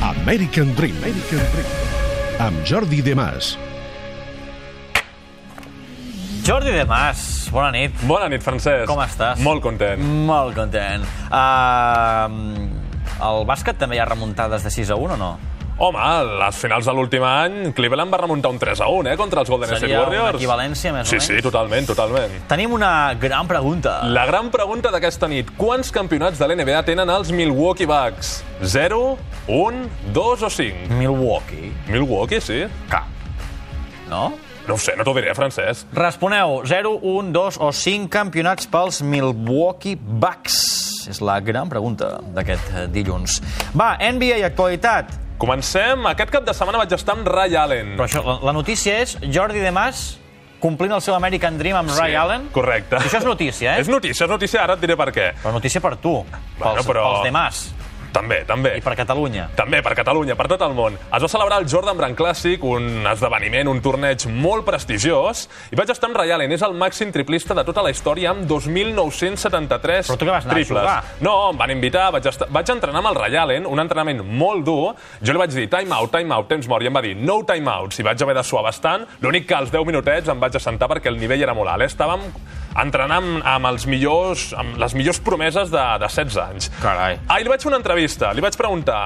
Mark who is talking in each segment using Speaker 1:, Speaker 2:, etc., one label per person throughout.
Speaker 1: American Dream. American Dream. Amb Jordi De Mas.
Speaker 2: Jordi de Mas, bona nit.
Speaker 3: Bona nit, Francesc.
Speaker 2: Com estàs?
Speaker 3: Molt content.
Speaker 2: Molt content. Uh, al bàsquet també hi ha remuntades de 6 a 1 o no?
Speaker 3: Home, a les finals de l'últim any, Cleveland va remuntar un 3 a 1, eh, contra els Golden State
Speaker 2: Seria una
Speaker 3: Warriors.
Speaker 2: equivalència, més
Speaker 3: Sí,
Speaker 2: o menys?
Speaker 3: sí, totalment, totalment.
Speaker 2: Tenim una gran pregunta.
Speaker 3: La gran pregunta d'aquesta nit, quants campionats de l'NBA tenen els Milwaukee Bucks? 0, 1, 2 o 5?
Speaker 2: Milwaukee,
Speaker 3: Milwaukee, sí. Cap.
Speaker 2: no?
Speaker 3: No ho sé, no t'ho diré, Francesc.
Speaker 2: Responeu 0, 1, 2 o 5 campionats pels Milwaukee Bucks. És la gran pregunta d'aquest eh, dilluns. Va, NBA i actualitat.
Speaker 3: Comencem. Aquest cap de setmana vaig estar amb Ray Allen.
Speaker 2: Però això, la, la notícia és Jordi de Mas complint el seu American Dream amb Ray Allen.
Speaker 3: Correcte.
Speaker 2: Això és notícia, eh?
Speaker 3: És notícia, és notícia, ara et diré per què.
Speaker 2: Però notícia per tu, pels,
Speaker 3: Bueno, però-
Speaker 2: pels de Mas
Speaker 3: També, també.
Speaker 2: i per Catalunya.
Speaker 3: També per Catalunya, per tot el món. Es va celebrar el Jordan Brand Clàssic, un esdeveniment, un torneig molt prestigiós, i vaig estar amb Ray Allen, és el màxim triplista de tota la història, amb 2.973
Speaker 2: Però tu què vas anar a
Speaker 3: triples.
Speaker 2: jugar?
Speaker 3: No, em van invitar, vaig, estar, vaig entrenar amb el Ray Allen, un entrenament molt dur. Jo li vaig dir time out, time out, temps mort, i em va dir no time out, i vaig haver de suar bastant. L'únic que als 10 minutets em vaig assentar perquè el nivell era molt alt. eh? Estàvem entrenant amb, amb, els millors, amb les millors promeses de, de 16 anys.
Speaker 2: Carai.
Speaker 3: Ahir Ah, li vaig fer una entrevista, li vaig preguntar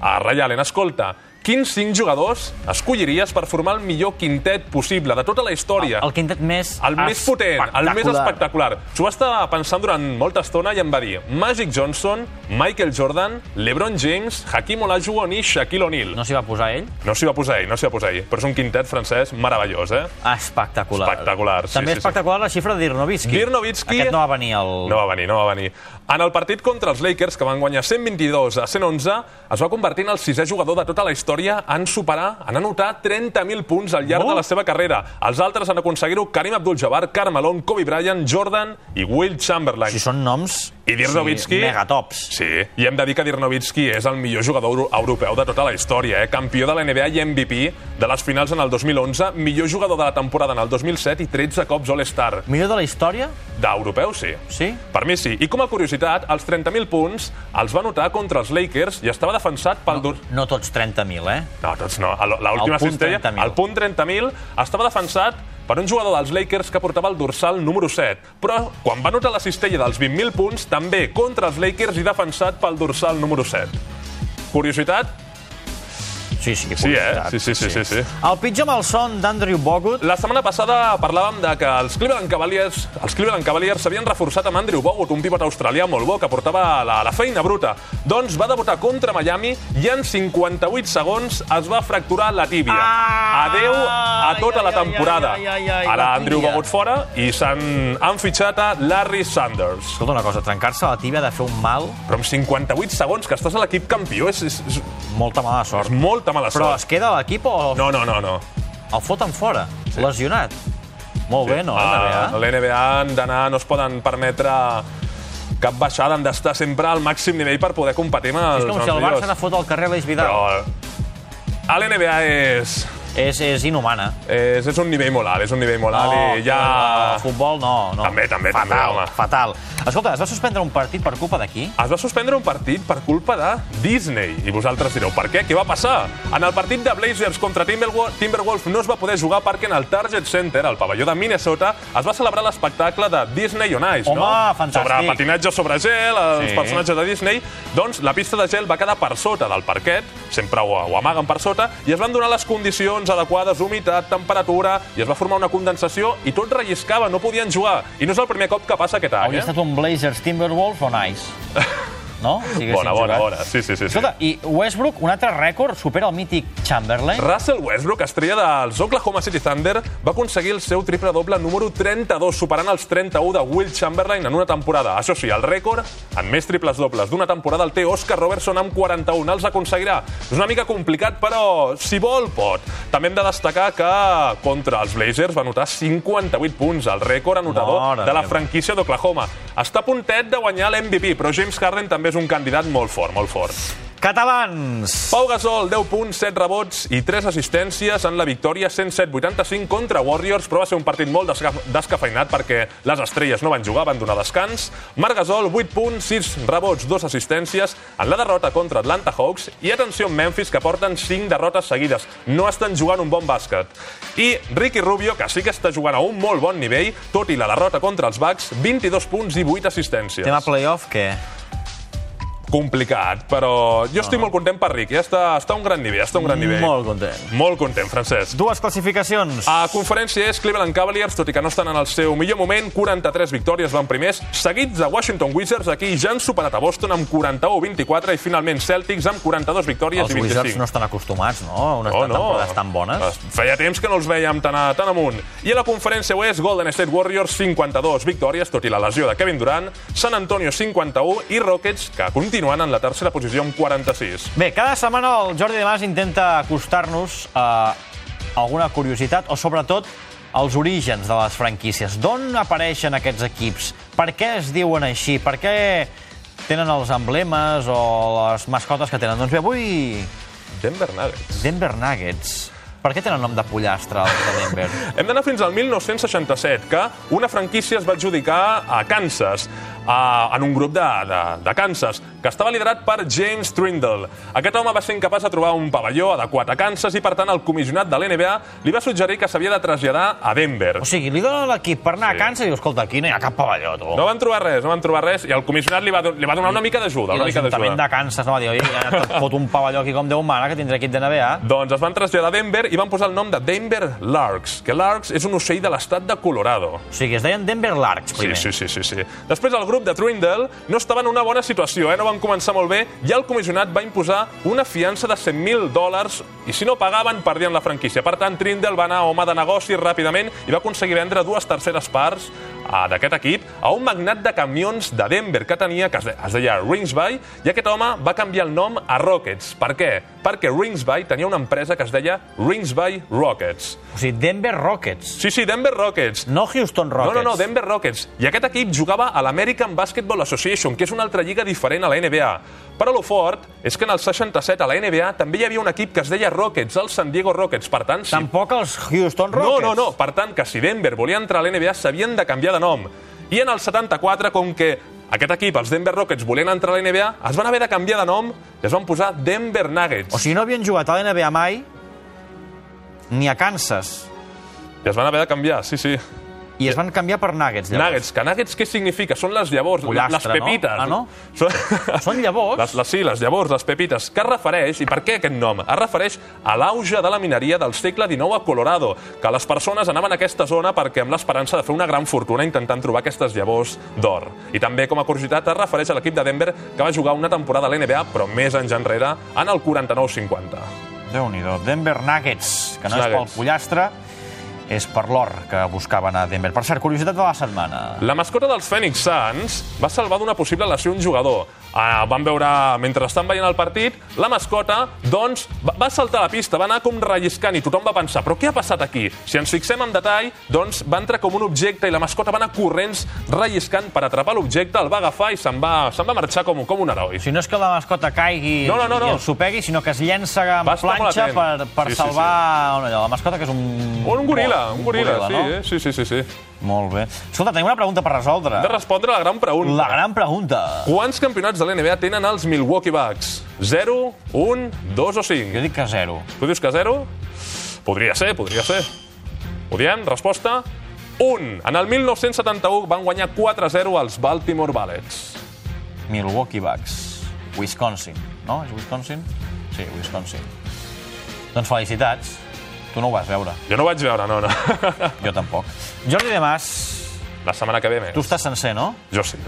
Speaker 3: a Ray Allen, escolta, quins cinc jugadors escolliries per formar el millor quintet possible de tota la història?
Speaker 2: El quintet més...
Speaker 3: El més potent, el més espectacular. S'ho va estar pensant durant molta estona i em va dir Magic Johnson, Michael Jordan, LeBron James, Hakim Olajuwon i Shaquille O'Neal.
Speaker 2: No s'hi va posar ell?
Speaker 3: No s'hi va posar ell, no s'hi va posar ell. Però és un quintet francès meravellós, eh?
Speaker 2: Espectacular.
Speaker 3: Espectacular, sí,
Speaker 2: També
Speaker 3: sí, sí.
Speaker 2: espectacular la xifra d'Irnovitski.
Speaker 3: Dirnovitski-
Speaker 2: Aquest no va venir al...
Speaker 3: No va venir, no va venir. En el partit contra els Lakers, que van guanyar 122 a 111, es va convertir en el sisè jugador de tota la història en superar, en anotar 30.000 punts al llarg
Speaker 2: Oh.
Speaker 3: de la seva carrera. Els altres en aconseguir-ho Karim Abdul-Jabbar, Carmelo, Kobe Bryant, Jordan i Will Chamberlain.
Speaker 2: Si són noms...
Speaker 3: I Dirnovitski...
Speaker 2: Sí, megatops.
Speaker 3: Sí, i hem de dir que Dirnovitski és el millor jugador euro- europeu de tota la història, eh? campió de la NBA i MVP de les finals en el 2011, millor jugador de la temporada en el 2007 i 13 cops All-Star.
Speaker 2: Millor de la història?
Speaker 3: D'europeu, sí.
Speaker 2: Sí?
Speaker 3: Per mi sí. I com a curiositat, els 30.000 punts els va notar contra els Lakers i estava defensat pel... No.
Speaker 2: No tots 30.000, eh?
Speaker 3: No, tots no. A l- L'última
Speaker 2: El punt
Speaker 3: cistella,
Speaker 2: 30.000.
Speaker 3: el punt 30.000, estava defensat per un jugador dels Lakers que portava el dorsal número 7. Però quan va notar la cistella dels 20.000 punts, també contra els Lakers i defensat pel dorsal número 7. Curiositat?
Speaker 2: Sí, sí,
Speaker 3: Sí, eh?
Speaker 2: publicitat,
Speaker 3: Sí, sí, sí, sí. sí.
Speaker 2: El pitjor malson d'Andrew Bogut...
Speaker 3: La setmana passada parlàvem de que els Cleveland Cavaliers els Cleveland Cavaliers s'havien reforçat amb Andrew Bogut, un pivot australià molt bo que portava la, la feina bruta. Doncs va debutar contra Miami i en 58 segons es va fracturar la tíbia.
Speaker 2: Ah!
Speaker 3: Adeu a
Speaker 2: Ai,
Speaker 3: tota la
Speaker 2: ai, ai,
Speaker 3: temporada.
Speaker 2: ai, ai, ai,
Speaker 3: Ara
Speaker 2: la
Speaker 3: Andrew
Speaker 2: tíbia.
Speaker 3: Bogut fora i s'han han fitxat a Larry Sanders.
Speaker 2: Escolta una cosa, trencar-se la tibia ha de fer un mal,
Speaker 3: Però amb 58 segons que estàs a l'equip campió és, és, és,
Speaker 2: molta mala
Speaker 3: és
Speaker 2: sort.
Speaker 3: molta mala
Speaker 2: Però es
Speaker 3: sort.
Speaker 2: queda a l'equip o no.
Speaker 3: No, no, no, no.
Speaker 2: el foten fora? Sí. Lesionat? Molt bé, eh? no?
Speaker 3: Ah,
Speaker 2: NBA?
Speaker 3: L'NBA han d'anar, no es poden permetre cap baixada, han d'estar sempre al màxim nivell per poder competir amb els
Speaker 2: És com si el
Speaker 3: millors.
Speaker 2: Barça n'ha fot al carrer l'Eix Vidal.
Speaker 3: Però a l'NBA és,
Speaker 2: És, és inhumana.
Speaker 3: és, és un nivell molt alt, és un nivell molt alt i Ah, ja...
Speaker 2: El futbol no, no.
Speaker 3: També, també,
Speaker 2: fatal,
Speaker 3: també, home.
Speaker 2: Fatal. Escolta, es va suspendre un partit per culpa d'aquí?
Speaker 3: Es va suspendre un partit per culpa de Disney. I vosaltres direu, per què? Què va passar? En el partit de Blazers contra Timberwol- Timberwolves no es va poder jugar perquè en el Target Center, al pavelló de Minnesota, es va celebrar l'espectacle de Disney on Ice, no?
Speaker 2: Home, fantàstic.
Speaker 3: Sobre patinatge sobre gel, els
Speaker 2: Sí.
Speaker 3: sí. personatges de Disney. Doncs la pista de gel va quedar per sota del parquet, sempre ho, ho amaguen per sota, i es van donar les condicions adequades, humitat, temperatura, i es va formar una condensació, i tot relliscava, no podien jugar. I no és el primer cop que passa aquest any,
Speaker 2: Hauria
Speaker 3: eh?
Speaker 2: estat un Blazers Timberwolves on ice. No? Si haguessin
Speaker 3: Bona, bona,
Speaker 2: jugat.
Speaker 3: bona. Sí, sí, sí. sí.
Speaker 2: Escolta, i Westbrook, un altre rècord, supera el mític Chamberlain.
Speaker 3: Russell Westbrook, estrella dels Oklahoma City Thunder, va aconseguir el seu triple doble número 32, superant els 31 de Will Chamberlain en una temporada. Això sí, el rècord en més triples dobles d'una temporada el té Oscar Robertson amb 41. Els aconseguirà. És una mica complicat, però si vol, pot. També hem de destacar que contra els Blazers va anotar 58 punts, el rècord anotador
Speaker 2: Mare
Speaker 3: de la
Speaker 2: meva.
Speaker 3: franquícia d'Oklahoma. Està a puntet de guanyar l'MVP, però James Harden també és un candidat molt fort, molt fort.
Speaker 2: Catalans!
Speaker 3: Pau Gasol, 10 punts, 7 rebots i 3 assistències en la victòria 107-85 contra Warriors, però va ser un partit molt desca descafeinat perquè les estrelles no van jugar, van donar descans. Marc Gasol, 8 punts, 6 rebots, 2 assistències en la derrota contra Atlanta Hawks i atenció Memphis, que porten 5 derrotes seguides. No estan jugant un bon bàsquet. I Ricky Rubio, que sí que està jugant a un molt bon nivell, tot i la derrota contra els Bucks, 22 punts i 8 assistències
Speaker 2: Tema playoff, què?
Speaker 3: complicat, però jo estic molt content per Rick. Ja està, està a un gran nivell, està a un gran nivell. Ah,
Speaker 2: Molt content.
Speaker 3: Molt content, Francesc.
Speaker 2: Dues classificacions.
Speaker 3: A conferència és Cleveland Cavaliers, tot i que no estan en el seu millor moment, 43 victòries van primers, seguits de Washington Wizards, aquí ja han superat a Boston amb 41-24 i finalment Celtics amb 42 victòries
Speaker 2: Els
Speaker 3: i 25.
Speaker 2: Wizards no estan acostumats, no? A Unes
Speaker 3: No, no.
Speaker 2: temporades tan bones.
Speaker 3: Feia temps que no els veiem tan, a, tan amunt. I a la conferència oest, Golden State Warriors 52 victòries, tot i la lesió de Kevin Durant, San Antonio 51 i Rockets, que continuen en la tercera posició amb 46.
Speaker 2: Bé, cada setmana el Jordi de Mas intenta acostar-nos a alguna curiositat o, sobretot, als orígens de les franquícies. D'on apareixen aquests equips? Per què es diuen així? Per què tenen els emblemes o les mascotes que tenen? Doncs bé, avui
Speaker 3: Denver Nuggets.
Speaker 2: Denver Nuggets. Per què tenen nom de pollastre, els de Denver?
Speaker 3: Hem d'anar fins al 1967, que una franquícia es va adjudicar a Kansas, a, en un grup de, de, de Kansas, que estava liderat per James Trindle. Aquest home va ser incapaç de trobar un pavelló adequat a Kansas i, per tant, el comissionat de l'NBA li va suggerir que s'havia de traslladar a Denver.
Speaker 2: O sigui, li donen l'equip per anar a Kansas i diu, escolta, aquí no hi ha cap pavelló, tu.
Speaker 3: No van trobar res, no van trobar res, i el comissionat li va, do- li va donar una mica d'ajuda.
Speaker 2: I
Speaker 3: una mica
Speaker 2: l'Ajuntament
Speaker 3: d'ajuda.
Speaker 2: de Kansas no va dir, "Oi, ja et fot un pavelló aquí com Déu mana, que tindré equip de NBA.
Speaker 3: Doncs es van traslladar a Denver i van posar el nom de Denver Larks, que Larks és un ocell de l'estat de Colorado.
Speaker 2: O sigui, es deien Denver Larks,
Speaker 3: Sí,
Speaker 2: primer.
Speaker 3: sí, sí, sí, sí. Després el grup de Trindle no estava en una bona situació, eh? no van començar molt bé, i el comissionat va imposar una fiança de 100.000 dòlars i si no pagaven perdien la franquícia. Per tant, Trindle va anar a home de negoci ràpidament i va aconseguir vendre dues terceres parts ah, d'aquest equip a un magnat de camions de Denver que tenia, que es de- es deia Ringsby, i aquest home va canviar el nom a Rockets. Per què? Perquè Ringsby tenia una empresa que es deia Ringsby Rockets.
Speaker 2: O sigui, Denver Rockets.
Speaker 3: Sí, sí, Denver Rockets.
Speaker 2: No Houston Rockets.
Speaker 3: No, no, no, Denver Rockets. I aquest equip jugava a l'American Basketball Association, que és una altra lliga diferent a la NBA. Però lo fort és que en el 67 a la NBA també hi havia un equip que es deia Rockets, els San Diego Rockets. Per tant, si...
Speaker 2: Tampoc els Houston
Speaker 3: No,
Speaker 2: Rockets.
Speaker 3: no, no. Per tant, que si Denver volia entrar a la NBA s'havien de canviar de nom. I en el 74, com que aquest equip, els Denver Rockets, volien entrar a la NBA, es van haver de canviar de nom i es van posar Denver Nuggets.
Speaker 2: O sigui, no havien jugat a la NBA mai, ni a Kansas.
Speaker 3: I es van haver de canviar, sí, sí.
Speaker 2: I
Speaker 3: Eh,
Speaker 2: es van canviar per Nuggets, llavors.
Speaker 3: Nuggets, que Nuggets què significa? Són les llavors,
Speaker 2: Pollastre,
Speaker 3: les
Speaker 2: no?
Speaker 3: pepites.
Speaker 2: Ah, no?
Speaker 3: Són...
Speaker 2: Són llavors?
Speaker 3: Les, les, sí, les llavors, les pepites. Què es refereix, i per què aquest nom? Es refereix a l'auge de la mineria del segle XIX a Colorado, que les persones anaven a aquesta zona perquè amb l'esperança de fer una gran fortuna intentant trobar aquestes llavors d'or. I també, com a curiositat, es refereix a l'equip de Denver que va jugar una temporada a l'NBA, però més anys enrere, en el 49-50.
Speaker 2: Déu-n'hi-do. Denver Nuggets, que no és pel
Speaker 3: Nuggets.
Speaker 2: pollastre, és per l'or que buscaven a Denver. Per cert, curiositat de la setmana.
Speaker 3: La mascota dels Phoenix Suns va salvar d'una possible lesió un jugador. Ah, van veure, mentre estan veient el partit, la mascota, doncs, va, va saltar a la pista, va anar com relliscant i tothom va pensar, però què ha passat aquí? Si ens fixem en detall, doncs va entrar com un objecte i la mascota va anar corrents relliscant per atrapar l'objecte, el va agafar i se'n va, se'n va marxar com, com un heroi.
Speaker 2: O sigui, no és que la mascota caigui
Speaker 3: No, no, no, no.
Speaker 2: i el supegui, sinó que es llença amb
Speaker 3: Va estar molt
Speaker 2: planxa
Speaker 3: atent.
Speaker 2: per, per
Speaker 3: Sí, sí,
Speaker 2: salvar sí, sí. la mascota, que és un...
Speaker 3: O un goril·la, un goril·la, sí,
Speaker 2: no?
Speaker 3: eh? sí, sí, sí, sí.
Speaker 2: Molt bé. Escolta, tenim una pregunta per resoldre.
Speaker 3: Hem de respondre a la gran pregunta.
Speaker 2: La gran pregunta.
Speaker 3: Quants campionats de l'NBA tenen els Milwaukee Bucks? 0, 1, 2 o 5?
Speaker 2: Jo dic que zero.
Speaker 3: Tu dius que 0? Podria ser, podria ser. Ho diem? Resposta? 1. En el 1971 van guanyar 4-0 als Baltimore Bullets.
Speaker 2: Milwaukee Bucks. Wisconsin, no? És Wisconsin? Sí, Wisconsin. Doncs felicitats. Tu no ho vas veure.
Speaker 3: Jo no ho vaig veure, no, no.
Speaker 2: Jo tampoc. Jordi de Mas,
Speaker 3: La setmana que ve més.
Speaker 2: tu estàs sencer, no?
Speaker 3: Jo sí,